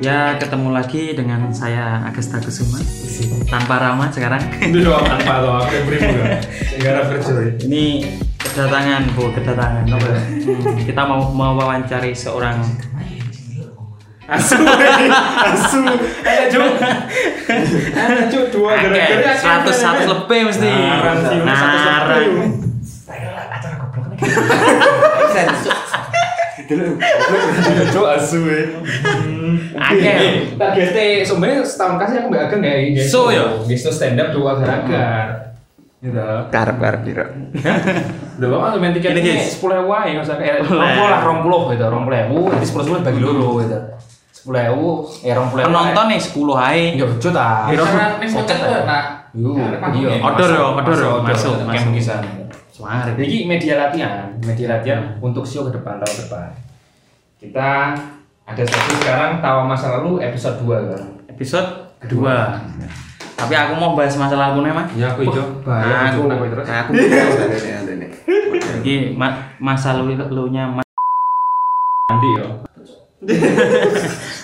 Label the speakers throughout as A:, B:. A: Ya ketemu lagi dengan saya Agasta Kusuma tanpa Rama sekarang.
B: Itu doang tanpa atau aku yang beribu kan? Gara berjoy.
A: Ini kedatangan bu kedatangan. Novel. Hmm, Kita mau mewawancari seorang
B: Asu, asu. Ada cuk, ada Ah, cuk dua gara-gara
A: Akeh, 100
B: asu.
A: lebih nah, mesti.
B: Narang sih, orang satu satu.
A: Narang.
B: Ada cuk asu eh.
A: Akeh.
B: Tak gete sebenarnya setahun kasih aku mbak ageng ya. ini.
A: So, ya?
B: Gesto stand up dua gara-gara. Ya dah.
C: karep karep piro
B: Udah bang, main
A: Gini,
B: tiket ini
A: guys.
B: sepuluh ewu aja nggak usah kayak
A: Sepuluh.
B: rompul lah rompuluh gitu, rompul ewu, nanti sepuluh sepuluh bagi loro gitu. Sepuluh ewu, ya rompul ewu.
A: Penonton nih 10 hari.
B: ya lucu ta.
A: Ya,
D: Karena
B: Bocet,
D: next konten tuh,
B: ta.
D: nah.
B: Yo, iya,
A: Order ya, order ya, masuk,
B: kayak
A: masuk.
B: mengkisan.
A: Suara.
B: Jadi media latihan, media latihan untuk show ke depan tahun depan. Kita ada satu sekarang tawa masa lalu episode 2 kan.
A: Episode kedua. Tapi aku mau bahas masalah aku nih mas.
B: Ya aku itu.
A: Bahaya, Cuk.
B: Aku aku terus.
C: aku ini ada nih
A: Jadi ma masa lalu nya mas.
B: Nanti yo.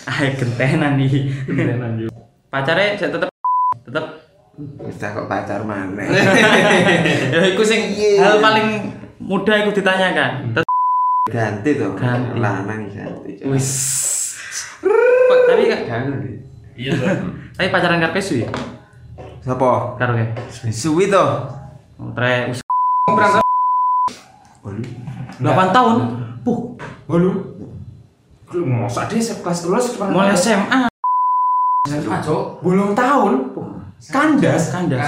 A: Ah gentenan nih. Pacarnya saya tetep tetep.
C: kita kok pacar mana
A: Ya iku sing hal paling mudah iku ditanyakan. Tetep.
C: ganti tuh
A: Ganti.
C: lanang ganti Cuk.
A: Wis. Kok, tapi
C: Jangan, nih.
D: Iya tuh.
A: tapi pacaran karo Pesu ya?
C: siapa
A: Karo ya. Oh,
C: suwi tuh
A: Tre us-
B: Berangkat.
A: 8 tahun. Puh,
B: Walu. Lu ngosak deh sekelas kelas depan.
A: mulai SMA.
D: SMA, Cok.
B: Belum tahun. Kandas.
A: Kandas.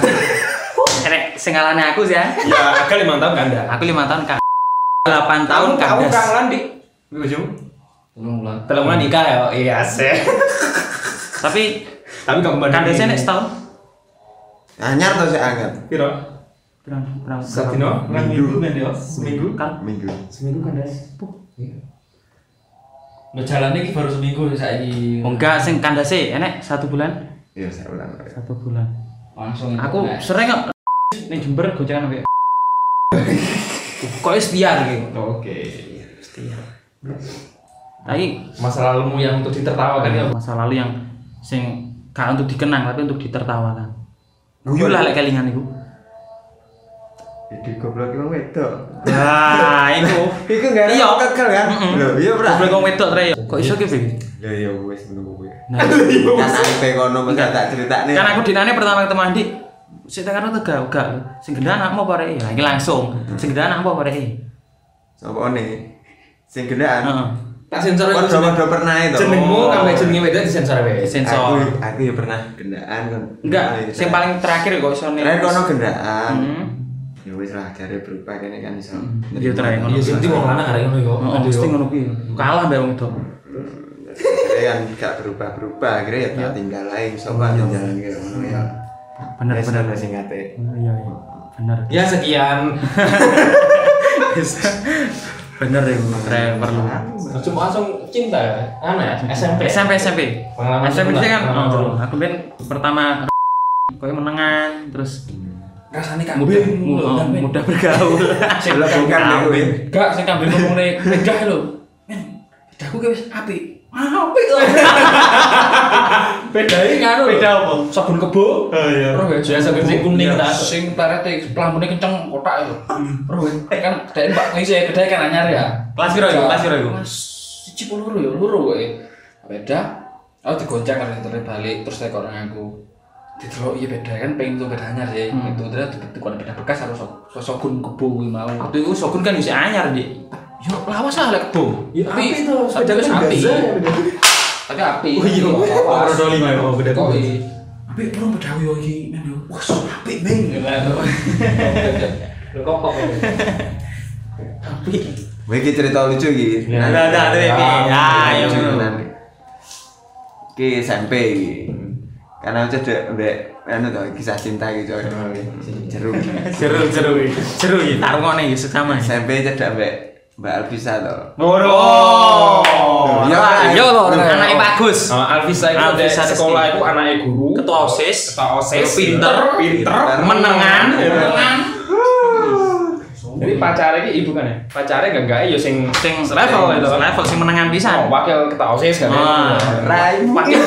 A: Erek sing ngalahne aku sih ya.
B: Ya, agak lima tahun kandas.
A: Aku 5 tahun kan 8 tahun
B: Aku
A: kandas.
B: kangen di di ujung.
D: Tolong ulang.
B: Telungan nikah ya. Iya, sih.
A: Tapi
B: Tapi kamu bandingin.
A: kandasnya nek setahun.
C: anyar tuh sih anget
B: Piro?
A: Berang berang.
B: Satino, nang minggu Mendio. Seminggu.
A: Kan
C: minggu
B: Seminggu kandas. Iya.
D: Lo jalannya ini baru seminggu ya, saya ini.
A: Oh, enggak sing kandase enek 1 bulan.
C: iya saya ulang Pak.
A: 1 bulan.
D: Langsung.
A: Aku
D: internet.
A: sering kok ning Jember gocengan ambek. Kok wis tiar iki.
B: Oh, Oke.
A: Tapi
B: Masa lalumu yang untuk ditertawakan ya.
A: masa lalu yang sing gak untuk dikenang tapi untuk ditertawakan. Guyu lah lek kelingan iku.
C: jadi goblok emang wedok
A: Nah, iku.
C: itu nggak ada
A: Iya.
C: yang kekel kan
A: Mm-mm.
C: Loh, iya bro
A: Goblok wong wedok tre. Kok iso ki, Bi?
C: ya ya wes menunggu gue
A: Nah,
C: kan sampai kono mesti tak cerita nih
A: kan aku dinane pertama ketemu Andi. Sik tak karo tegak gak. Sing gendhe anakmu apa rek? Ya iki langsung. Sing gendhe anakmu apa rek?
C: Sopo nih sing gendaan
A: Heeh.
B: Tak sensor
C: kono
B: itu.
C: kono pernah itu
B: Jenengmu sampai jenenge wedok disensor ya? wae.
C: aku
A: Sensor.
C: aku ya pernah gendaan kan
A: Enggak, sing paling terakhir kok iso nih.
C: Terakhir kono gendaan
A: Hmm.
C: ya wis lah jare berubah kene kan iso
A: Iya, Tre, ngono.
B: Iya, sing penting wong lanang arek ngono yo.
A: Oh, mesti ngono kuwi. Kalah mbek wong wedok.
C: Akhirnya kan gak berubah-berubah akhirnya ya tak tinggal lain sobat yang jalan gitu ngono ya
A: Hmm. Bener,
C: Wis
A: bener.
C: ono sing ngate
A: Iya, iya. Bener.
B: Ya sekian.
A: Bener ya, Tre perlu.
B: Cuma langsung cinta ya. Anu ya, SMP.
A: SMP SMP.
B: Pengalaman
A: SMP
B: dulu lah,
A: kan.
B: pengalaman dulu.
A: Oh, aku ben pertama koyo menengan terus
D: Rasanya kambing.
A: mudah
D: ngono lho,
A: mudah,
D: kambing.
A: mudah bergaul.
C: Lah bukan gue.
D: Enggak, saya kambing ngomong nih. Bedah lho. Men, bedahku kayak wis apik. Apik lho.
B: Bedai
D: nganu lho.
B: Beda apa?
D: Sabun kebo.
B: Oh iya.
D: Roh ya,
B: Biasa
D: sabun
B: kuning.
D: kuning
B: Iya.
D: tak sing perete pelambune kenceng kotak lho. Roh ya, eh, kan dek Pak ngisi bedai kan anyar ya.
A: Kelas piro iku? Kelas piro iku?
D: Mas, siji puluh loro ya, loro kowe. Beda. Aku digoncang karo internet balik terus tekor nang aku. Didelok iya beda kan pengen tuh bedanya sih.
A: Hmm.
D: Itu ternyata dibekukan beda bekas harus so- so- Shogun kebo kuwi mau.
A: Waktu itu Shogun kan bisa anyar, Dik.
D: Yo lawas lah lek kebo.
B: Ya api itu.
D: Ada wis api. Tapi api.
B: Oh iya.
D: Lawas.
B: Rodo lima ya, oh, beda tuh.
D: Kok i- Api bro beda yo iki men yo. Wes api bing.
B: Kok kok.
A: Tapi
C: Gue iki cerita lucu iki.
B: Ya,
C: Nah,
A: ada ada ada
B: Ya,
A: Pi. Ya,
C: iya
A: ayo.
C: Ki SMP iki. Karena aku cedek mbek anu to kisah cinta gitu
A: Hmm.
C: Jeruk.
A: Seru seru seru iya. iki
B: iya,
A: tarungone iki sesama. iki.
C: SMP cedek mbek Mbak Alvisa to.
A: Oh.
C: Ya,
A: ayo lho,
C: lho.
A: anake Pak Gus.
B: Oh, Alvisa itu ada
A: Iya. Alvisa
B: sekolah
A: Rizky.
B: itu anaknya guru.
A: Ketua OSIS.
B: Ketua OSIS.
A: Pinter. Iya.
B: Pinter.
A: Menengan.
B: Menengan.
D: Menang. Suwi
B: pacare iki ibu kan ya. Pacare enggak enggak ya sing
A: sing level itu level sing menengan
B: Oh,
A: pisan
B: wakil ketua OSIS kan.
A: Ah.
C: Raimu.
A: wakil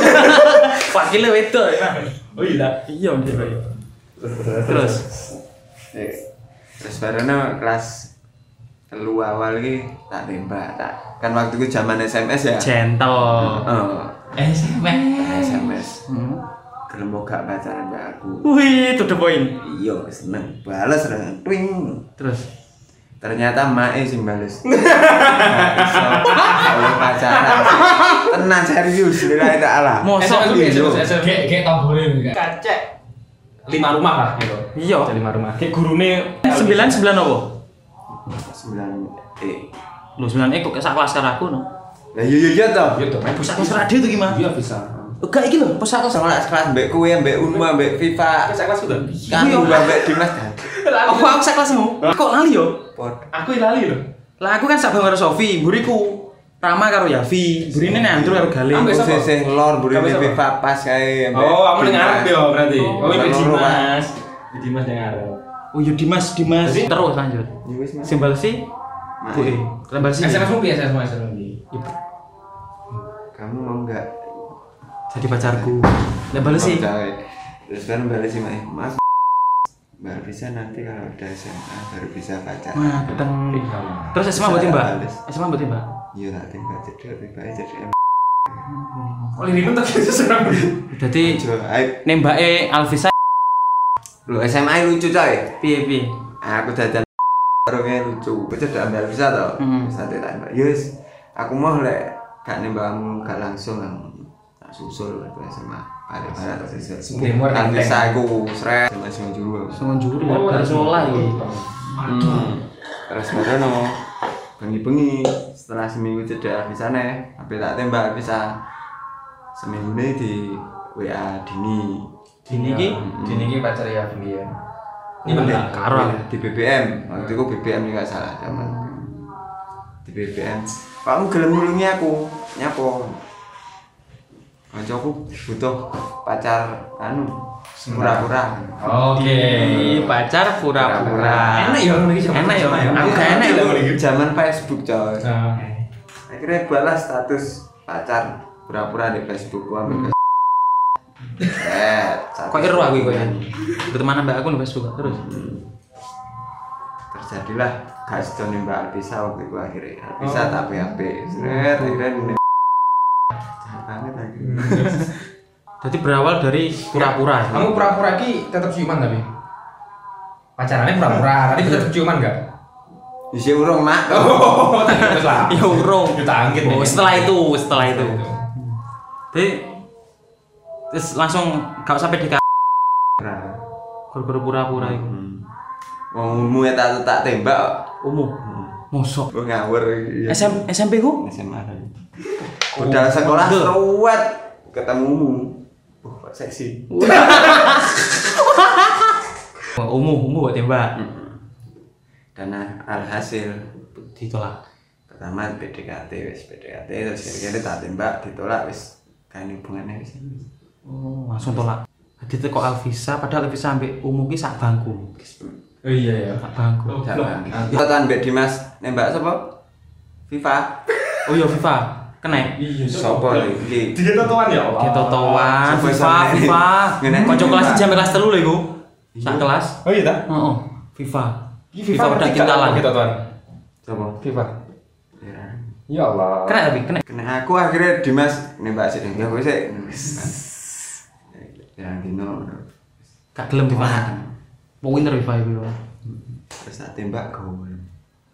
A: wakilnya wedok ya
B: Oh iya.
A: iya terus
C: Iya. Terus barunya kelas telu awal iki tak tembak tak kan waktu itu zaman SMS ya.
A: gentle
C: Oh,
A: SMS
C: SMS. Hmm. Gelem mau gak pacaran mbak aku.
A: wih to the point
C: Iya, seneng. Bales lah. Twing.
A: terus
C: Ternyata Mae sing bales. Nah, iso. Oleh pacaran. Tenang serius, lillahi ta'ala.
A: mosok
E: Kayak kayak tambole kan.
B: Kacek. Lima rumah lah gitu.
A: Iya.
B: Ada lima rumah. Kayak gurune
A: sembilan sembilan apa
C: Sembilan eh.
A: lu sembilan itu kayak sak kelas karo aku no
C: Lah iya iya iya toh.
B: Iya
A: Gitu.
B: tuh, main pusat
A: pusat kelas radio itu gimana
B: Iya bisa.
A: enggak iki lho pusat kelas
C: Sama lah kelas mbek kue, mbek Unma, mbek Viva.
B: Pusat kelas sudah.
C: Kan
A: Iya.
C: Unma mbek Dimas kan.
A: Oh, aku sak kelasmu. Kok lali yo?
C: Pod.
B: Aku lali loh.
A: Lah aku kan sak karo Sofi, mburiku. Rama karo Yavi, mburine nek Andrew karo Gale.
B: Ambek
C: Aku
B: sapa?
C: sih lor buri
B: Ambek sapa?
C: Viva pas kae. Iya, mbek
B: Oh, kamu
C: Dimas.
B: dengar ya berarti. Oh,
C: Nang
B: itu
C: loro, Pak.
B: Dimas. Dimas dengar.
A: Oh iya Dimas, Dimas.
B: Jadi-
A: terus lanjut.
C: Ya wis,
B: Iya.
C: Mas.
A: Simbal si
B: Nah,
A: Bue. Simbal si.
B: SMS mungkin SMS mungkin, SMS mungkin.
C: Kamu mau enggak?
A: Jadi pacarku. Lah bales si.
C: Terus kan bales sih Mae. Mas. Baru bisa nanti kalau udah SMA baru bisa pacaran.
A: Mateng. Terus SMA buat Mbak.
C: Bales.
A: SMA buat Mbak.
C: Iya tak tembak cedek, tembak cedek.
B: Oh, ini pun tak seserem.
A: Jadi
C: Coba, ayo.
A: nembake Alvisa
C: Lu SMA lucu coy.
A: piye piye.
C: Aku dadan orangnya lucu. Pecet dan ambil bisa tau.
A: Hmm.
C: Sate tak nembak. Yes. Aku mau lek gak nembakmu gak langsung kan. Tak susul waktu SMA. Paling banyak tak susul.
B: Demo
C: Tak
B: renteng.
C: bisa aku seret sama semua juru aku.
A: Sengon juru ya, baru mulai.
C: Hmm. Terus baru no bengi-bengi setelah seminggu jeda di sana, tapi tak tembak bisa seminggu ini di WA dini
A: Dini iki
D: Hmm.
B: Dini ini pacar ya Vindi
A: iya.
B: ya. Ini
C: Di-
B: benar.
A: karo.
C: Iya,
A: Hmm.
C: di BBM waktu itu BBM juga salah zaman di BBM kamu gelem nulungi aku nyapo Kancaku butuh pacar anu pura-pura
A: Oh.
B: Oke.
A: Di Iya, pacar pura-pura.
B: Enak ya ngono iki. Jam.
A: Enak ya, Mas.
B: Enak.
A: Aku gak enak lho.
C: zaman Facebook coy
A: Iya.
B: Nah,
C: akhirnya balas status pacar pura-pura di Facebook gua ambil ke- Eh,
A: Hmm.
C: status-
A: Kok ya? iru aku iki koyo. Berteman Mbak aku lho Facebook terus.
C: terjadilah guys Johnny Mbak Alpisa waktu itu akhirnya Alpisa tak PHP seret akhirnya ini jahat banget akhirnya
A: Jadi berawal dari pura-pura. ya?
B: Kamu pura-pura ki tetap ciuman tapi. Pacarannya pura-pura, tapi tetap ciuman enggak?
C: isi urung mak
B: Oh, tak kira lah.
A: Ya urung.
B: Kita angin
A: Oh,
B: nih.
A: setelah itu, setelah itu. Jadi terus langsung gak sampai di gara pura-pura itu.
C: mau Hmm. umum ya tak tak tembak
A: Umum. Mosok.
C: gue ngawur iya.
A: SM, SMP ku?
C: SMA tadi. udah sekolah
A: Betul.
C: ruwet ketemu umum Wah, kok seksi
A: Umum, umum Oh, buat tembak.
C: dan nah, alhasil
A: Ditolak.
C: pertama PDKT wis PDKT terus akhirnya tak tembak ditolak wis kan hubungannya wis
A: Oh, langsung tolak. Jadi teko Alvisa, padahal Alvisa ambek umum ki sak bangku.
B: Oh iya ya.
A: Sak bangku.
C: Jangan. Kita tahan Mbak Dimas nembak siapa? Viva.
A: Oh iya Viva, kena.
B: Iya.
C: Sopo iki?
B: Dia totoan ya Allah.
A: Ditotowan,
C: Sampai
A: Viva,
C: sampai-
A: Viva.
C: Ngene.
A: Kocok kelas jam kelas telu lho iku. Sak kelas.
B: Oh iya ta?
A: Oh, oh. Viva. Viva udah kintalan.
B: totoan.
C: Sopo?
B: Viva. Ya Allah.
A: Kena tapi kena.
C: Kena aku akhirnya Dimas nembak sih. Ya kowe sik. Ya dino.
A: Gak gelem Viva. Mau winner Viva iku.
C: Terus tak tembak gol.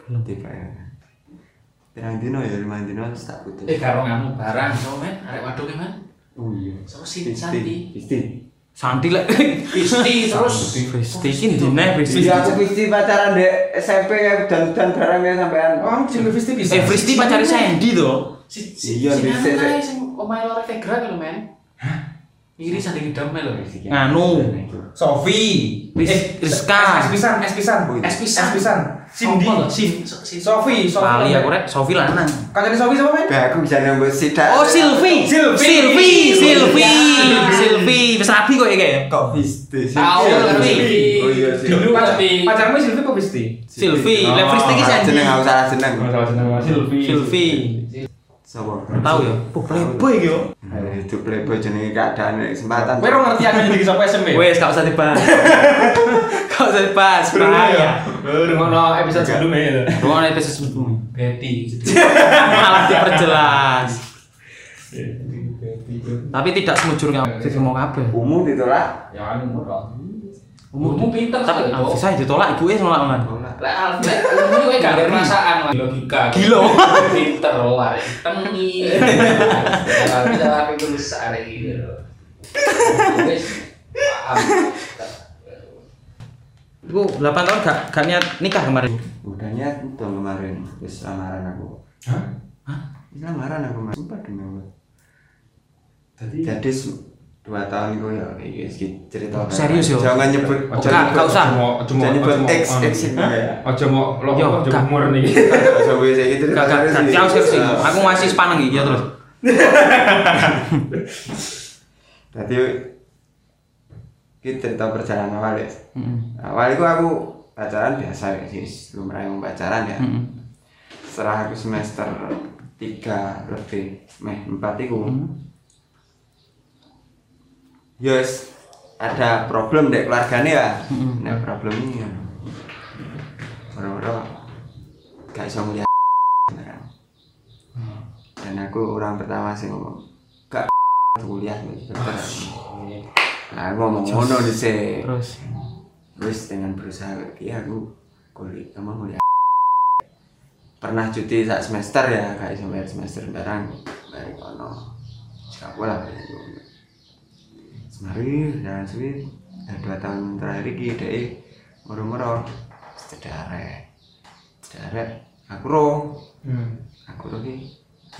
A: Belum.
C: Tiba ya. Terang dino ya lima dino terus tak putus.
D: Eh karo ngamu barang, so men, arek waduk e, men.
C: Oh iya.
D: So sin santi.
C: Pisti.
A: Santi lek.
D: Isti terus.
A: Fristi iki ndine Fristi.
C: Iya aku Pisti pacaran di SMP ya dan dan barangnya sampean.
B: Orang cium Visti bisa.
A: Eh Fristi pacare Sandy to.
D: Si si
C: Iya,
D: si anu
C: bisa,
D: nana
C: Cek.
D: sing omahe lore tegra kan men. Iri sadiki damai lho.
A: Nganu.
B: Sofi.
A: Ris-
B: Eh,
A: Rizka.
B: Es es pisan, es pisan, es pisan, es pisan.
D: Cindy.
B: Sopo?
D: Sin sin
B: Sofi, Sofi.
A: Kali aku rek Sofi lanang.
B: Kancane Sofi siapa, men?
C: Bah, aku bisa nembus sidak.
A: Oh Silvi.
B: Silvi.
A: Silvi, Silvi,
B: Iya.
A: Silvi. Wis rapi kok iki.
C: Kok Visti?
D: Tahu
A: Silvi.
C: Oh iya,
E: Dulu
B: Pacar-
E: tapi
B: Pacarmu Silvi apa Visti?
A: Silvi, Levis iki
C: salah
A: Sandy.
C: Oh, jeneng, aku salah jeneng.
B: Silvi.
A: Silvi.
C: Sopo?
A: Tahu ya? Oh, playboy iki yo.
C: Nah, Itu playboy jenenge keadaan nek kesempatan.
B: Kowe ora ngerti aku iki sapa SMP?
A: Wes gak usah dibahas. Gak usah dibahas.
B: Ah, iya.
A: Bahaya.
B: Rungono episode sebelumnya itu.
A: Ruang episode sebelumnya.
D: Betty.
A: malah diperjelas. Tapi tidak semujur kamu. Sing mau kabeh.
C: Umum ditolak.
E: ya anu murah.
D: Umurmu pinter
A: Tapi ah,
D: sekali, Bo.
A: bisa ditolak ibu es nolak nolak.
D: Lek lek umurmu kowe gak ada perasaan lah.
E: Logika.
A: Gila.
D: Pinter lah. Tengi. Kalau bisa tapi itu besar gitu loh. Wis. paham.
A: Ibu 8 tahun gak gak niat nikah kemarin.
C: Udah niat dong kemarin. Wis lamaran aku.
B: Hah?
C: Wis lamaran aku mas. Sumpah demi Allah.
B: Tadi
C: Jadi se- dua tahun iku ya iki iki cerita.
A: Oh, serius yo?
C: Jangan nyebut.
A: Oh, gak, gak usah. oh,
C: Jangan nyebut X X ini.
B: Ojo mau lo
A: ya. Yo,
B: ojo
A: gak.
B: umur nih.
C: Ojo wis iki cerita.
A: Gak gak gak
C: serius.
A: serius serius.
C: Ah.
A: Aku masih sepaneng iki ya terus.
C: Jadi kita cerita perjalanan awal ya.
A: Mm-mm.
C: Awal itu aku pacaran biasa ya sih, lumrah yang pacaran ya.
A: Mm-mm.
C: Setelah aku semester tiga lebih, meh empat itu. Yes, ada problem dek keluarganya ya.
A: Mm-mm.
C: Nah problem ini ya. Boro-boro gak bisa ngeliat beneran. Dan aku orang pertama sih ngomong, gak kuliah gitu. Nah, aku ngomong ngono di
A: Terus
C: terus dengan berusaha ya aku kuliah emang kuliah pernah cuti saat semester ya kayak sampai semester barang dari kono sekarang aku lah semari dan suwi nah, dua tahun terakhir ini deh moro-moro sederek sederek aku roh
B: Hmm.
C: aku roh ki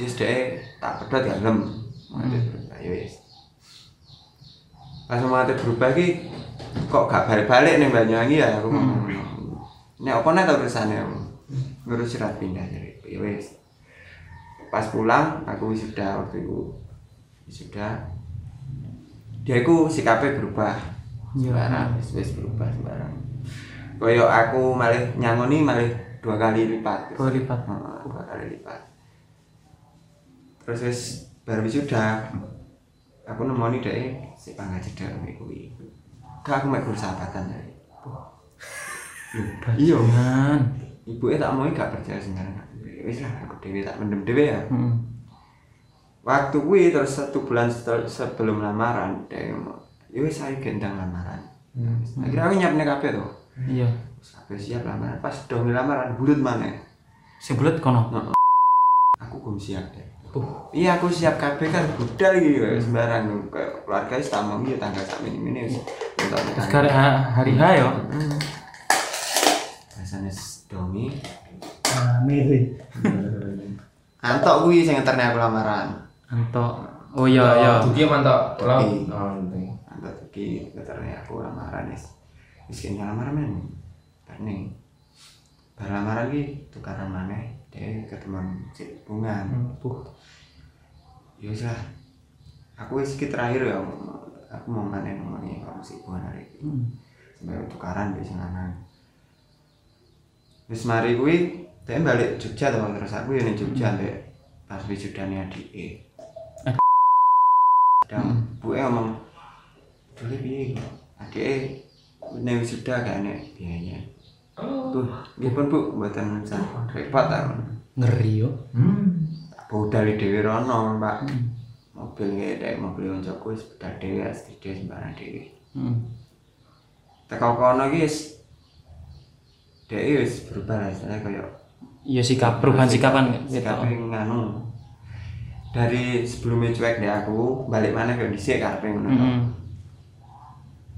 C: yes deh tak pedot ya lem Mati berubah ayo yes pas mati berubah ki kok gak balik-balik nih Banyuwangi ya aku ngomong ini apa nih tau kesannya aku ngurus surat pindah dari ya wes pas pulang aku sudah waktu itu sudah dia itu sikapnya berubah sembarang wis wis berubah sembarang koyo aku malih nyangoni malih dua kali lipat
A: Dua lipat.
C: Heeh, dua kali lipat terus wis baru sudah aku nemoni deh si pangga cedek ambek kuwi gak aku mek guru sahabatan ya iya
A: jangan.
C: ibunya tak mau gak percaya sembarang wis lah aku dewe tak mendem dewe ya
A: Mm-mm.
C: waktu kuwi terus satu bulan setel- sebelum lamaran dia ngomong yo wis ayo gendang lamaran
A: Hmm.
C: akhirnya aku nyiapne kabeh to
A: Iya.
C: Wis kabeh siap lamaran pas dong lamaran bulut mana
A: Sing bulet kono.
C: aku belum siap deh
A: Uh.
C: iya aku siap kabeh kan budal gitu kayak sembarang kayak keluarga wis tak mau gitu tanggal sak ini ini wis entar
A: Terus hari hari H yo.
C: rasane domi antok kuwi sing ngeterne aku lamaran
A: Antok. Oh iya iya.
B: Nah, Duki mantap. Kalau
C: Duki. Antar iki keternya aku lamaran es. Wis kene lamaran men. Tani. Bar lamaran iki tukaran maneh dhewe ketemuan cek bungan.
A: Puh.
C: Ya wis lah. Aku wis iki terakhir ya aku mau maneh ngomongi karo si bungan hari iki.
A: Hmm.
C: Sampai tukaran wis lanang. Wis mari kuwi dhewe balik Jogja to terus aku ya ning Jogja mbek pas wisudane adike. E Dan buke ngomong Dulu piye iki? Adike nek wisuda gak enek biayanya. Tuh, nggih pun Bu, mboten usah repot ta.
A: Ngeri yo.
B: Hmm.
C: Budal dhewe rono, Pak. Mobil nggih dek mobil oncoku wis budal dhewe asli dhewe sembarang dhewe.
A: Mm.
C: Teko kono iki wis dhewe wis berubah lah istilahnya kaya
A: Iya sikap perubahan sikapan
C: sikape
A: gitu.
C: nganu. Dari sebelumnya cuek deh aku, balik mana ke dhisik karepe ngono. to.
A: Mm-mm.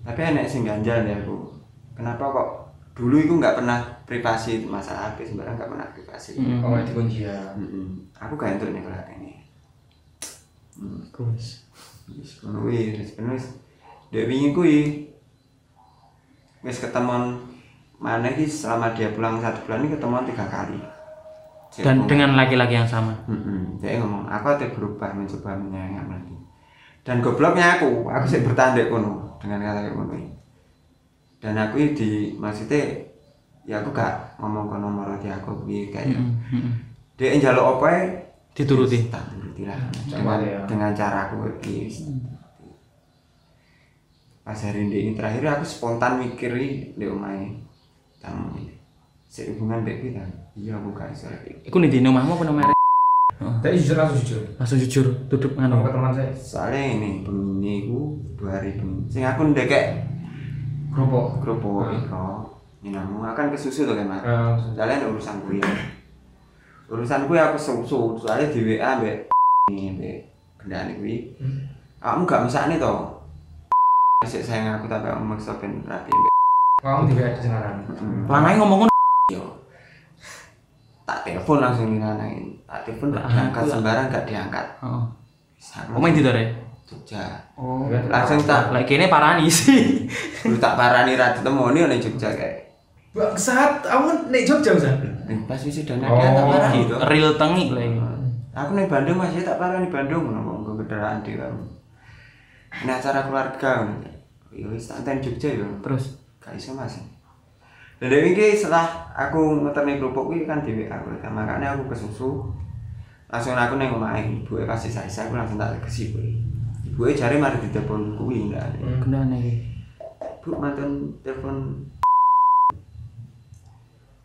C: tapi enak sing ganjal ya aku kenapa kok dulu itu nggak pernah privasi masalah HP sembarang nggak pernah privasi
A: Mm-mm.
B: Oh, itu kunci ya.
C: Mm-mm. aku gak entuk nih kalau ini
A: Bagus.
C: Mm. wis ngono kuwi wis bener wis dek wingi kuwi wis ketemuan maneh iki selama dia pulang satu bulan ini ketemuan tiga kali Dia
A: Dan
C: ngomong-
A: dengan laki-laki yang sama.
C: Mm-mm. dia ngomong aku hati berubah mencoba menyayang lagi dan gobloknya aku aku sih bertandek kono dengan kata kayak kono ini. dan aku ini di maksudnya ya aku gak ngomong kono nomor di aku ini kayak ya. dia njaluk apa ya
A: Hmm, Dituruti.
C: tak turuti lah
B: Coba
C: dengan,
B: ya.
C: dengan cara aku ini pas hari ini terakhir aku spontan mikir ini di omahnya tamu ini sehubungan dek kita iya aku gak iso
A: Iku nih di omahmu apa nomere?
B: Tapi jujur langsung jujur.
A: Langsung jujur tutup
B: Ngomong ke
A: nganu.
B: teman saya.
C: soalnya ini bengi ku dua hari bengi sing aku ndekek
B: Kerupuk.
C: kerupuk
A: Hmm.
C: iko nyinamu akan kesusu tuh kan mas
B: Eh,
C: soalnya ada urusan kuliah urusan kuliah ya aku susu soalnya di WA mbak ini mbak kendali kuwi
A: Hmm.
C: kamu gak masak nih toh masih sayang aku tapi aku maksa ben rapi mbak
B: Kamu juga ada jengaran.
A: Lanang ngomong ngono.
C: tak telepon langsung nangin tak telepon gak
A: Ah,
C: diangkat
A: aku-
C: sembarang gak diangkat
A: Heeh.
C: Sama
A: Omah di dore.
C: Jogja
A: Oh.
C: langsung tak
A: Lah kene Gitu. parani sih.
C: lu tak parani ra ditemoni oleh Jogja kayak
B: Bangsat, kamu kan naik Jogja bisa.
C: pas
B: Oh.
C: wisuda Nadia tak parani toh
A: Real tengi lah ini.
C: aku nih Bandung masih tak parah nih Bandung ngomong ke kendaraan di kamu ini acara keluarga yo wis tak enten Jogja yo
A: Terus
C: gak iso mas dan dari ini setelah aku ngeterni kerupuk ini kan di WA aku kan. makanya aku kesusu langsung aku neng omah ibu e kasih saya aku langsung tak kesi ibu ibu e jari mari di telepon kuwi ndak ada.
A: gendane iki.
C: bu mantan telepon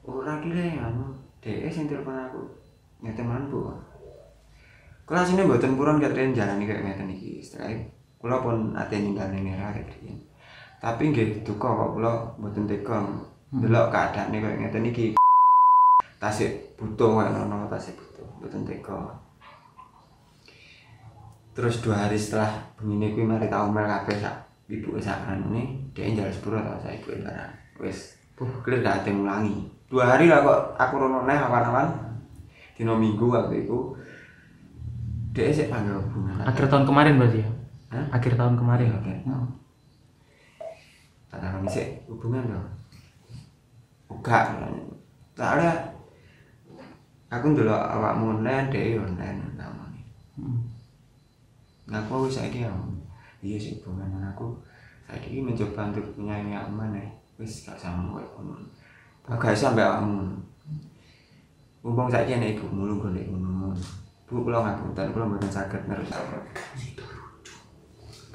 C: ora kira ya anu Oh, deh sing telepon aku ya teman bu kula sini mboten purun katren jalani kayak ngeten iki setelah kula pun ate ninggal ning era katren tapi nggih duka kok kula mboten tega delok keadaane kayak ngeten iki tasik butuh kayak ngono tasik butuh mboten tega terus dua hari setelah begini kuwi mari tau mel kabeh sak ibu sakran ini dia njaluk sepuro tau sak ibu barang wis buh clear gak ada yang ngulangi dua hari lah kok aku rono neh awan-awan dino minggu waktu itu dia sih panggil hubungan
A: Akhir tahun kemarin berarti ya.
C: Hah?
A: Akhir tahun kemarin.
C: Iya, akhir tahun. kata kami sih hubungan dong enggak soalnya aku ndelok awakmu online dia online namanya ngaku aku saiki ya iya sih hubungan dengan aku saiki mencoba untuk menyayangi aku mana wis gak sama kayak kamu gak gak sampe kamu Mumpung saiki ana ibu mulu golek ngono. Bu kula ngapunten, kula mboten saged ngerusak.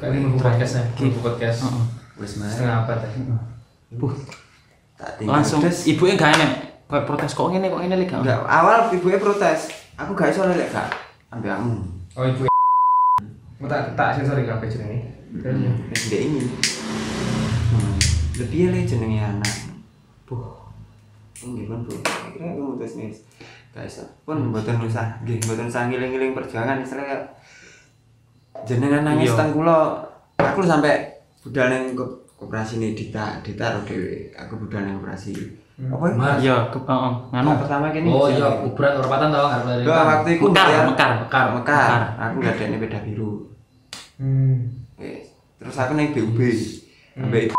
B: Kali mau podcast
D: Hmm.
B: ya, mau podcast.
A: Heeh.
C: Wis mari.
B: Setengah apa tadi?
A: Buh,
C: Tak tinggal.
A: langsung
C: Terus,
A: ibuke gak enek. Kayak protes kok ngene kok ngene lek gak.
C: enggak awal ibuke protes. Aku gak iso lek gak ambek kamu.
B: Oh ibu. Mau tak tak sensor di kafe ini. Terus ya.
C: Wis ndek ini. Hmm. Lebih le jenenge anak. Bu. Nggih pun Bu. Aku mutus nih. Gak iso.
E: Hmm.
C: Pun mboten usah. Nggih, mboten usah ngiling-ngiling perjuangan istilah jenengan nangis
A: Iya.
C: teng kula. Aku sampai budal ning ko- koperasi nih Dita, Dita ro dhewe. Aku budal ning koperasi. Apa ya?
E: Hmm. Mas.
A: Iya, ke heeh, nganu.
C: Nah, pertama kene.
E: Oh
C: jenenge.
E: iya, kuburan perempatan tau nggak dari
C: Doa waktu itu
A: Mekar,
C: bayar-
A: mekar.
C: mekar, mekar.
A: Mekar.
C: Aku nggak ada beda biru.
B: Hmm.
C: Wes. Terus aku naik BUB.
A: Hmm.
C: Ambek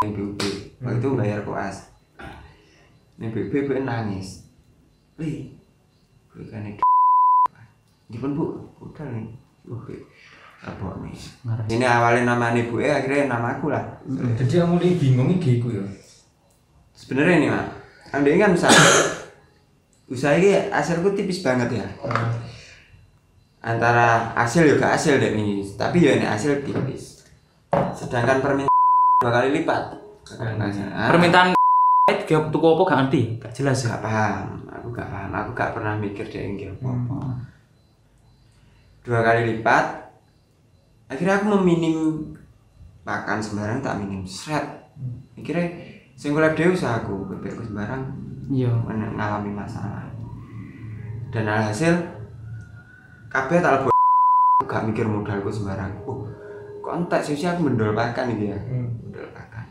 C: naik BUB. Waktu itu bayar koas. Naik BUB gue nangis. Li. Gue kan naik. Gimana bu? Udah nih. Oke. Apa nih?
A: Marah.
C: Ini awalnya nama ibu eh akhirnya nama aku lah.
A: Hmm.
B: Jadi kamu ini bingung ini giku ya.
C: Sebenarnya nih mak. Ambil kan usaha. usaha ini hasilku tipis banget ya. antara hasil juga hasil deh ini tapi ya ini hasil tipis sedangkan permintaan dua kali lipat Ah,
A: Permintaan gak tuku apa gak ngerti, gak jelas ya.
C: gak paham aku gak paham aku gak pernah mikir deh yang apa dua kali lipat akhirnya aku meminim makan sembarang tak minim seret akhirnya singkulab dewi usaha aku bebekku sembarang
A: Iya.
C: mengalami masalah dan alhasil kabeh tak lebih gak mikir modalku sembarang oh kok entek sih aku mendol pakan gitu ya
A: Hmm.
C: mendol pakan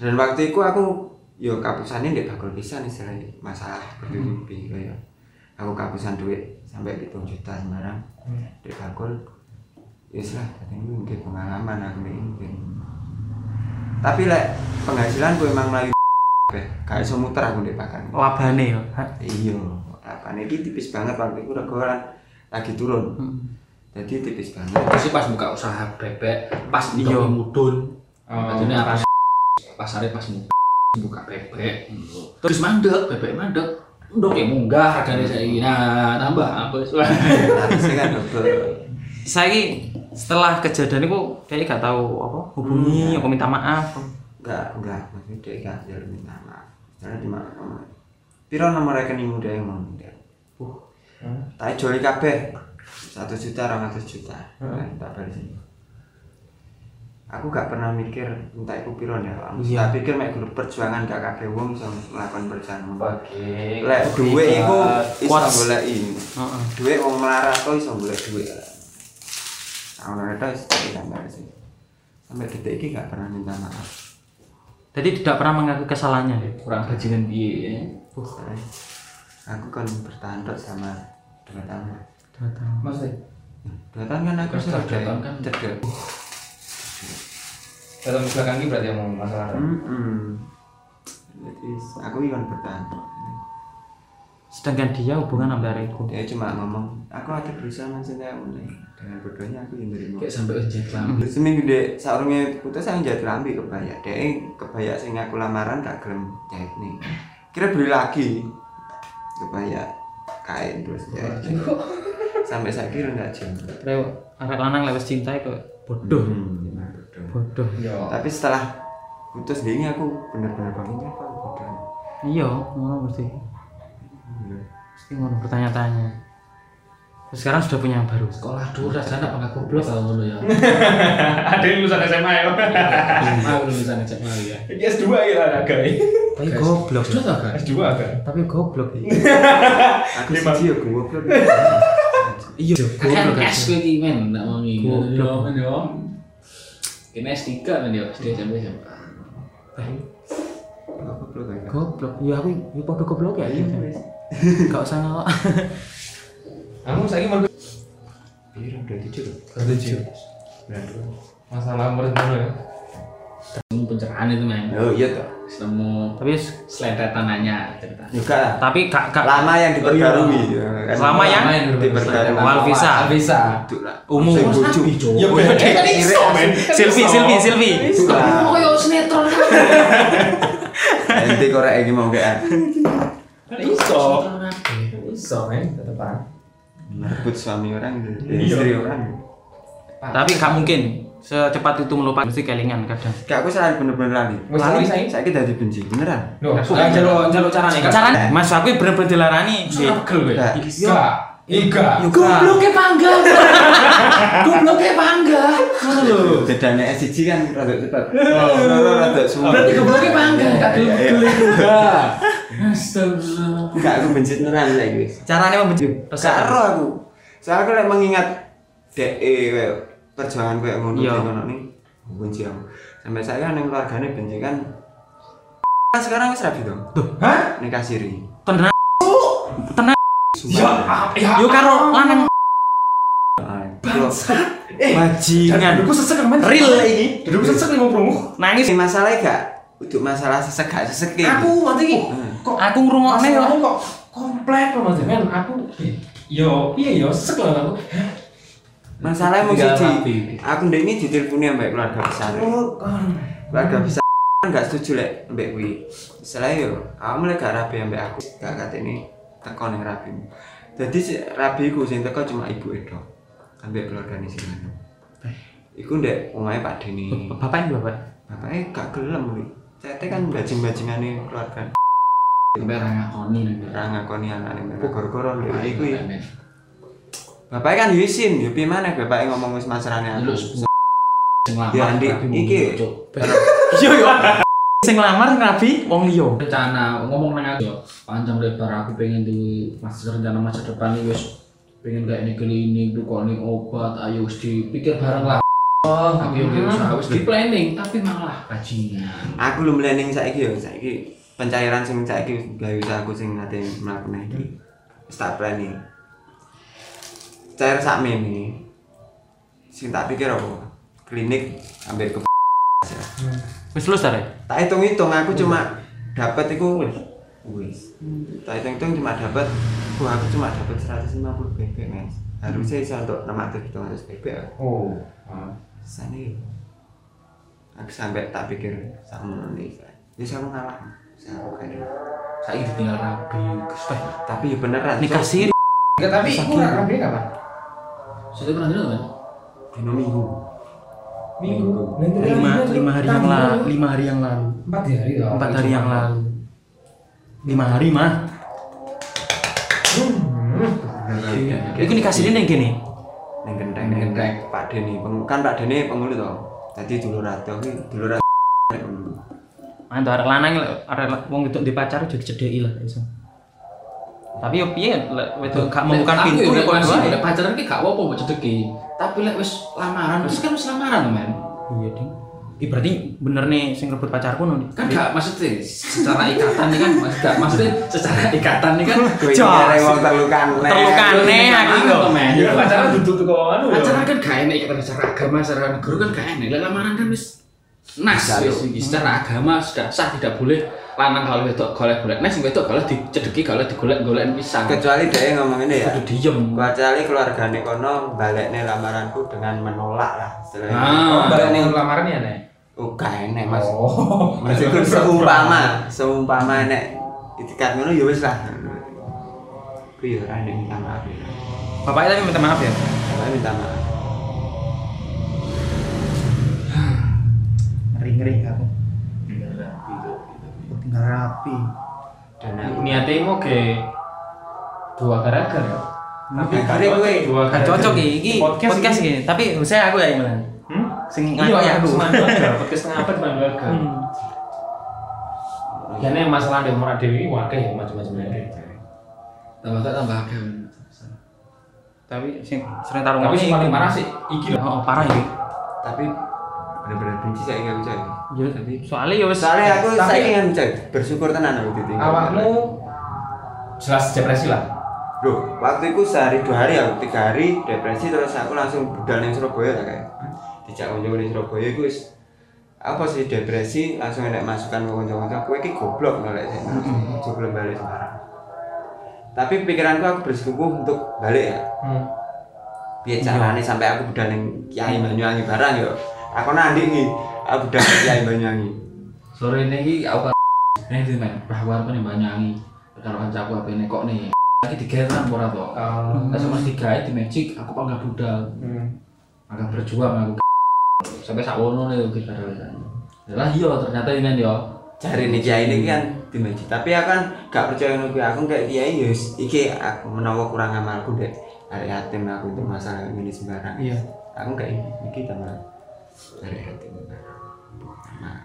C: dan waktu itu aku yo kapusannya ndek bakul pisan istilahnya masalah bertubi-tubi kaya aku kapusan duit sampai hitung juta sembarang ndek bakul Yes lah, jadi ini mungkin pengalaman aku nih mungkin. Tapi lek penghasilan gue emang lagi kayak iso muter aku di pakan.
A: labane ya. yo. Ha?
C: Iya, pakan ini tipis banget waktu itu regolan lagi turun. Jadi tipis banget.
D: Terus sih pas buka usaha bebek, pas
A: Iya.
D: iya mudun.
B: Oh,
D: Jadi apa pasarnya pas mu- buka bebek. Terus mandek, bebek mandek. Ndok ya munggah harganya saiki. Nah, tambah apa
C: Tapi saya kan double.
A: Saiki setelah kejadian itu kayaknya gak tahu apa hubungi apa minta maaf.
C: Enggak, enggak. Maksudnya dia enggak jalur minta maaf. Karena cuma ngomong, Piro nomor rekeningmu dia yang mau dia. Uh. Tak joli kabeh. 1 juta, 200 juta. Nah, tak balikin. Aku gak pernah mikir entah iku piro ya. Aku tak pikir mek grup perjuangan gak kabeh wong iso melakukan perjuangan.
B: Oke.
C: Lek dhuwit iku iso
A: Kuat.
C: goleki.
A: Heeh.
C: Dhuwit wong melarat kok iso golek Nah, dhuwit. Tahun itu tidak sih. Sampai detik ini gak pernah minta maaf.
A: Jadi tidak pernah mengakui kesalahannya. ya?
B: kurang bajingan piye ya.
C: Soalnya aku kan bertahan tok sama dua tahun
B: Maksudnya
C: dua tahun kan aku
D: Terus
C: sudah
D: dua tahun kan?
C: cedek
B: dalam belakang ini berarti yang masalah.
C: Mm-mm. jadi aku ikan bertahan tok.
A: Sedangkan dia hubungan sampai hari itu.
C: dia cuma ngomong aku ada berusaha maksudnya mulai dengan bodohnya aku yang terima
D: Kayak sampai ujian kelam.
C: Terus seminggu dek saurungnya putus saya jadi lambi kebaya dek kebaya sing aku lamaran gak gelem jahit nih kira beli lagi kebaya kain terus jahit sampai saya kira nggak jauh
A: Rek arek lanang lewat cinta kok bodoh. Bodoh.
B: Yo.
C: Hmm, tapi setelah putus dia ini aku bener-bener ya, bangunnya apa udah
A: Iya, ngono mesti. Mesti ngono bertanya-tanya. Terus Sekarang sudah punya yang baru.
E: Sekolah dulu rasanya apa nggak goblok kalau ngono ya?
B: Ada yang lulusan SMA ya.
E: Mau lulusan cek mau ya.
B: Ini S2 kira ada guys.
A: Tapi goblok.
E: Sudah tau kan?
B: S2 kan.
A: Tapi goblok.
C: aku
B: Lima.
C: sih ya gue belum
A: Iya, goblok.
D: Kan S kowe iki men, ndak mau iki.
A: Goblok.
D: Men yo. Kene S3 men yo, SD sampai SMA.
C: aku belum kayak
A: Goblok. Ya aku ya padha goblok ya.
C: Iya, wes.
A: Enggak usah ngelak.
B: Kamu saya mau
C: biru udah tujuh loh Nah,
B: tujuh. Masalah umur dulu ya.
D: Nemu pencerahan itu men.
C: oh iya toh
D: Nemu
A: Tapi wes,
D: seletetan nanya cerita.
C: juga lah.
A: tapi kak kak
C: lama yang diperbarui ya, kan.
A: Lama yang
C: diperbarui
A: Wal visa.
B: Alvisa.
C: itu lah
A: Umum.
C: Sing bojo.
B: Ya beda kan iso men.
A: Silvi, Silvi, Silvi.
C: Itu lah.
D: koyo sinetron.
C: nanti korek ini mau kayak
B: Kan iso.
D: Sinetron apa?
B: Iso men tetepan.
C: merebut suami orang gitu. istri orang
A: Tapi gak mungkin secepat itu melupakan mesti kelingan kadang.
C: kayak aku selalu bener-bener lali
B: Wes lali saiki?
C: saya kita dibenci beneran
B: Loh, saya jalo jalo carane kan.
A: Caranya Mas aku bener-bener dilarani.
B: Pegel kowe.
A: Iya.
C: Enggak.
B: Iga. Iga.
D: Goblok e pangga. Goblok e pangga. Ngono lho.
C: bedanya SCG kan rada cepat Oh, rada rada semua
D: Berarti goblok e pangga, gak
C: Iya, iya.
D: goblok juga. Astagfirullah.
C: Enggak, aku benci tenan lagi wis.
A: Carane membenci.
C: Gak ero aku. Soalnya aku lek mengingat dek kayak perjuangan kayak ngono
A: Iya.
C: iki ngono nih. aku Benci aku. Sampai saya nang keluargane benci kan. Kan sekarang wis rabi dong. Tuh,
B: Hah?
C: nikah
B: Iya.
C: siri.
A: Tenang. Tenang.
B: Ya, ah, ya.
A: Yo karo lanang
C: Bangsat. Eh,
A: bajingan.
B: Dudukku sesek men.
A: Real ini.
B: Dudukku sesek nih mau promo.
A: Nangis.
C: ini masalah gak? Untuk masalah sesek gak sesek iki.
B: Aku mati iki. Kok
A: Aku ngrungokne yo.
B: masalahnya kok komplek loh mas kan aku yo iya yo sesek lah aku.
C: Masalahnya mau
B: Tinggal rapi.
C: siji. Aku ndek ini diteleponnya mbak keluarga besar.
B: Oh, kan.
C: keluarga besar nggak setuju lek mbak kui misalnya yo kamu lek gak rabi mbak aku gak kata ini teko neng rabi jadi si rabi ku sing teko cuma ibu edo ambek keluarga ini sing anu iku ndek omahe pak deni
A: Bapak ini bapak.
C: bapaknya gak gelem kui cete kan bajing bajingan keluarga
D: Sampai ra ngakoni nek.
C: orang ngakoni anak ini mereka gor-goran ndek kui kui bapaknya kan yusin yo piye maneh bapaknya ngomong wis masrane
D: Dulu
C: aku
D: sepuluh. Sing
C: Ya,
D: lamar,
C: Andi,
D: tapi mau
C: iki.
D: cocok.
A: Yo yo. Sing lamar ngabi wong liya.
D: rencana ngomong nang aku panjang lebar aku pengen di masa rencana masa depan ini wis pengen kayak ini klinik tukoni obat ayo wis dipikir bareng lah oh tapi yang diusaha wis di planning tapi malah bajingan
C: aku lu melening saiki yo saiki pencairan sing saiki gawe usahaku sing nate mlakune iki wis tak plani cair sakmene sing tak pikir apa klinik hampir ke
A: Wis lulus ta, Rek?
C: tak hitung hitung aku cuma dapat itu wis tak hitung hitung cuma dapat wah aku cuma dapat 150 pp mas harusnya bisa untuk 600 700 pp ya.
B: Oh.
C: sana ya. aku sampai tak pikir sama nih bisa aku Ya ngalah Saya oke deh.
D: Saya ditinggal rabi, kesel.
C: tapi ya beneran
A: Nikah siri.
B: Enggak, tapi itu kurang rapi kapan?
D: Sudah pernah dengar kan?
C: dino minggu
B: Minggu.
A: lima Nah, lima hari yang lalu lima hari yang lalu
B: Empat hari ya? loh.
A: empat hari yang lalu lima hari mah
B: Hmm.
A: itu nikah sini nih gini
C: neng genteng neng genteng pak deni Peng- kan pak deni penghulu toh tadi dulu ratu ini dulu ratu nek penghulu.
A: Mantu arek lanang lek- arek la- wong itu di pacar jadi cedeki lah iso. Tapi yo piye lek wedok gak membuka
D: Lek
A: pintu
D: aku ya,
A: ya
D: lek
A: kono
D: masih
A: wae.
D: lek pacaran ki gak apa-apa mbok cedeki. Tapi lek wis lamaran, wis kan wis lamaran, men.
A: Iya, Ding. Ih berarti bener nih sing rebut pacarku no.
D: Kan gak maksudnya secara ikatan nih kan, mas- gak maksudnya secara ikatan nih kan.
C: Kowe iki
A: Jos.
C: arek wong terlukan lek.
A: Terlukane aku iki lho.
D: men.
B: Ya pacaran duduk anu, tuh kawan.
D: Pacaran kan gak enak ikatan secara agama, secara negara kan gak enak. Lek lamaran kan wis nas wis iki. secara agama sudah sah tidak boleh lanang kalau wedok golek-golek. Nah, sing wedok golek dicedeki, golek digolek-golek pisang.
C: kecuali dia ngomong ini ya
D: Kudu diem.
C: kecuali keluargane kono balekne lamaranku dengan menolak lah istilahnya
A: Nah.
B: Oh,
D: Ah,
B: balik nih lamaran ya nih.
C: oh gak enek mas
B: Oh.
C: maksudku seumpama seumpama nek itikat ngono ya wis lah ku ya ora nek minta maaf ya
A: Bapaknya tapi minta maaf ya.
C: Ora minta maaf
A: Ngeri-ngeri aku. Tinggal rapi.
C: dan aku
B: Niatnya mau ke dua garagan ya. Tapi
C: Gak cocok,
B: dua
A: Nah, Gak cocok iki, iki podcast iki. Tapi saya aku ya Imran.
B: Hmm?
A: Sing
B: Iya,
A: ngaku ya aku.
B: semangat keluarga. Podcast setengah abad semangat keluarga.
A: Hmm.
B: Ya nih masalah di umur Dewi ini wakil ya macam-macam ya.
D: tambah gak tambah agama.
A: Tapi sing sering tarung
B: Tapi yang paling parah sih iki
A: Oh,
B: loh.
A: parah iki.
C: tapi bener-bener benci saya aku coy
A: Ya, soalnya ya wis
C: soalnya aku
B: Tapi-
C: saiki kan coy bersyukur tenan aku gitu. ditinggal
B: Awakmu jelas depresi lah.
C: Loh, waktu itu sehari dua hari aku tiga hari depresi terus aku langsung budal ning Surabaya tak kayak. Dijak konco ning Surabaya iku wis apa sih depresi langsung enak masukan ke konco-konco kowe iki goblok nolak saya. Ojo belum balik sekarang. Tapi pikiranku aku bersikukuh untuk balik ya.
B: Hmm.
C: Piye carane sampai aku budal ning Kiai Banyuwangi barang yo. Aku nanti iki aku budal ning Kiai Banyuwangi.
D: sore ini iki aku nih sih men bahwa apa nih banyangi kalau kancaku apa ini kok nih lagi digeran ora to
B: Oh.
D: terus mas digawe di magic aku panggil budal agak berjuang aku sampai sakwono nih kita lah iya ternyata ini men yo
C: Jari nih Kiai ini kan dimaji. Tapi aku kan gak percaya ngono kuwi. Aku kayak Kiai yo wis, iki aku menawa kurang amalku dek. Arek yatim aku itu masalah ini sembarang.
A: Iya.
C: Aku kayak iki tambah arek yatim. Nah,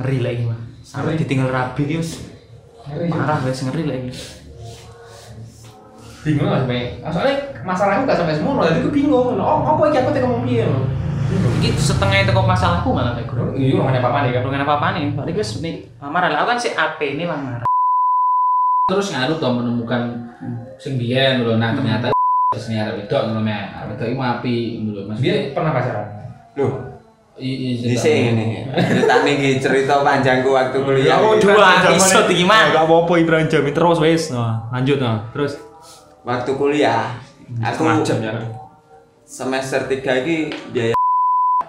A: ngeri lah iki, Mas. Sampai ditinggal rabi iki wis parah wis ngeri lah iki.
B: bingung lah sampai ah, soalnya masalahku gak sampai semua jadi aku bingung oh apa iki aku tega ngomong piye lho.
A: Iki setengah itu kok masalahku malah kayak guru.
B: iya makanya apa nih kan
A: Belum apa apa nih, soalnya gue seni lamaran lah. Aku kan si AP ini lamaran.
D: terus ngaruh to menemukan sing biyen lho nah ternyata terus nih ada wedok ngono men Arek wedok iku api ngono lho mas
B: dia pernah pacaran
C: Loh,
D: Iya, iya,
C: dhisik ngene. Ceritane iki cerita panjangku waktu kuliah.
A: dua episode iki mah.
E: apa-apa Ibran Jami terus wes. Nah, lanjut nah. Terus
C: Waktu kuliah aku semester 3 iki biaya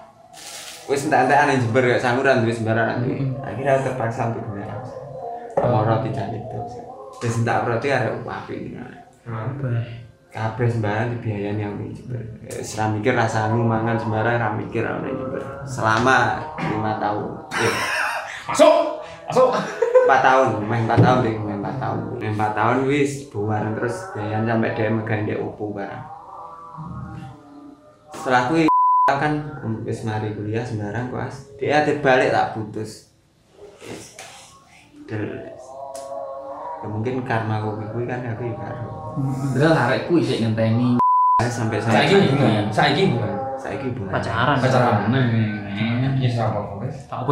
C: wis entek-entekan nang Jember ya sanguran wis sembarangan kuwi. Akhirnya terpaksa untuk beli kaos. Moro tidak itu. Wis entek berarti ada wapi ini. Kabeh sembarang dibiayani yang ning Jember. Eh, Ora mikir rasane mangan sembarang ora mikir ana ning Jember. Selama 5 tahun. Eh,
B: masuk masuk
C: 4 tahun, main 4 tahun deh, main 4 tahun. Main 4 tahun wis bubaran terus jalan sampai dia megang dia opo barang. Setelah kui kan wis mari kuliah sembarang kuas. Dia ate balik tak putus. Wis. Del. Ya mungkin karma kopi kui kan aku ya karo. Nah,
D: Padahal arek ku isih ngenteni
C: Sampai saya
B: saiki hubungan saiki hubungan
C: saiki bulan.
A: Pacaran.
B: pacaran
D: men.
B: iya sama ngomong wes
A: Tak apa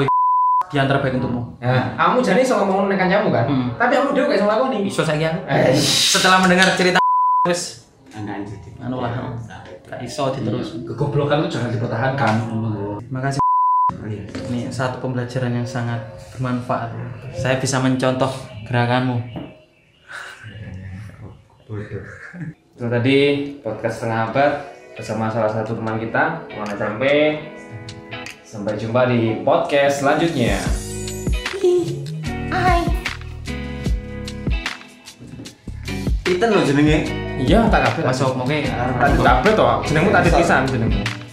A: dia yang terbaik untukmu.
B: nah kamu jadi sama ngomong dengan kancamu kan
A: Hmm.
B: tapi kamu dhewe gak sama aku nih
A: Iso saiki aku.
B: Eh,
A: Setelah mendengar cerita terus
C: Enggak jadi.
A: Anu lah.
C: Ya, Sampai.
A: tak iso diterus
D: Kegoblokan itu jangan dipertahankan.
A: Iya. makasih ini satu pembelajaran yang sangat bermanfaat saya bisa mencontoh gerakanmu
B: Itu tadi podcast setengah abad bersama salah satu teman kita, teman SMP. Sampai jumpa di podcast selanjutnya.
C: Iten lo jenenge.
B: Iya, tak kabeh.
A: masuk mungkin
B: Iya, Tadi kabeh to, jenengmu tadi pisan jenengmu.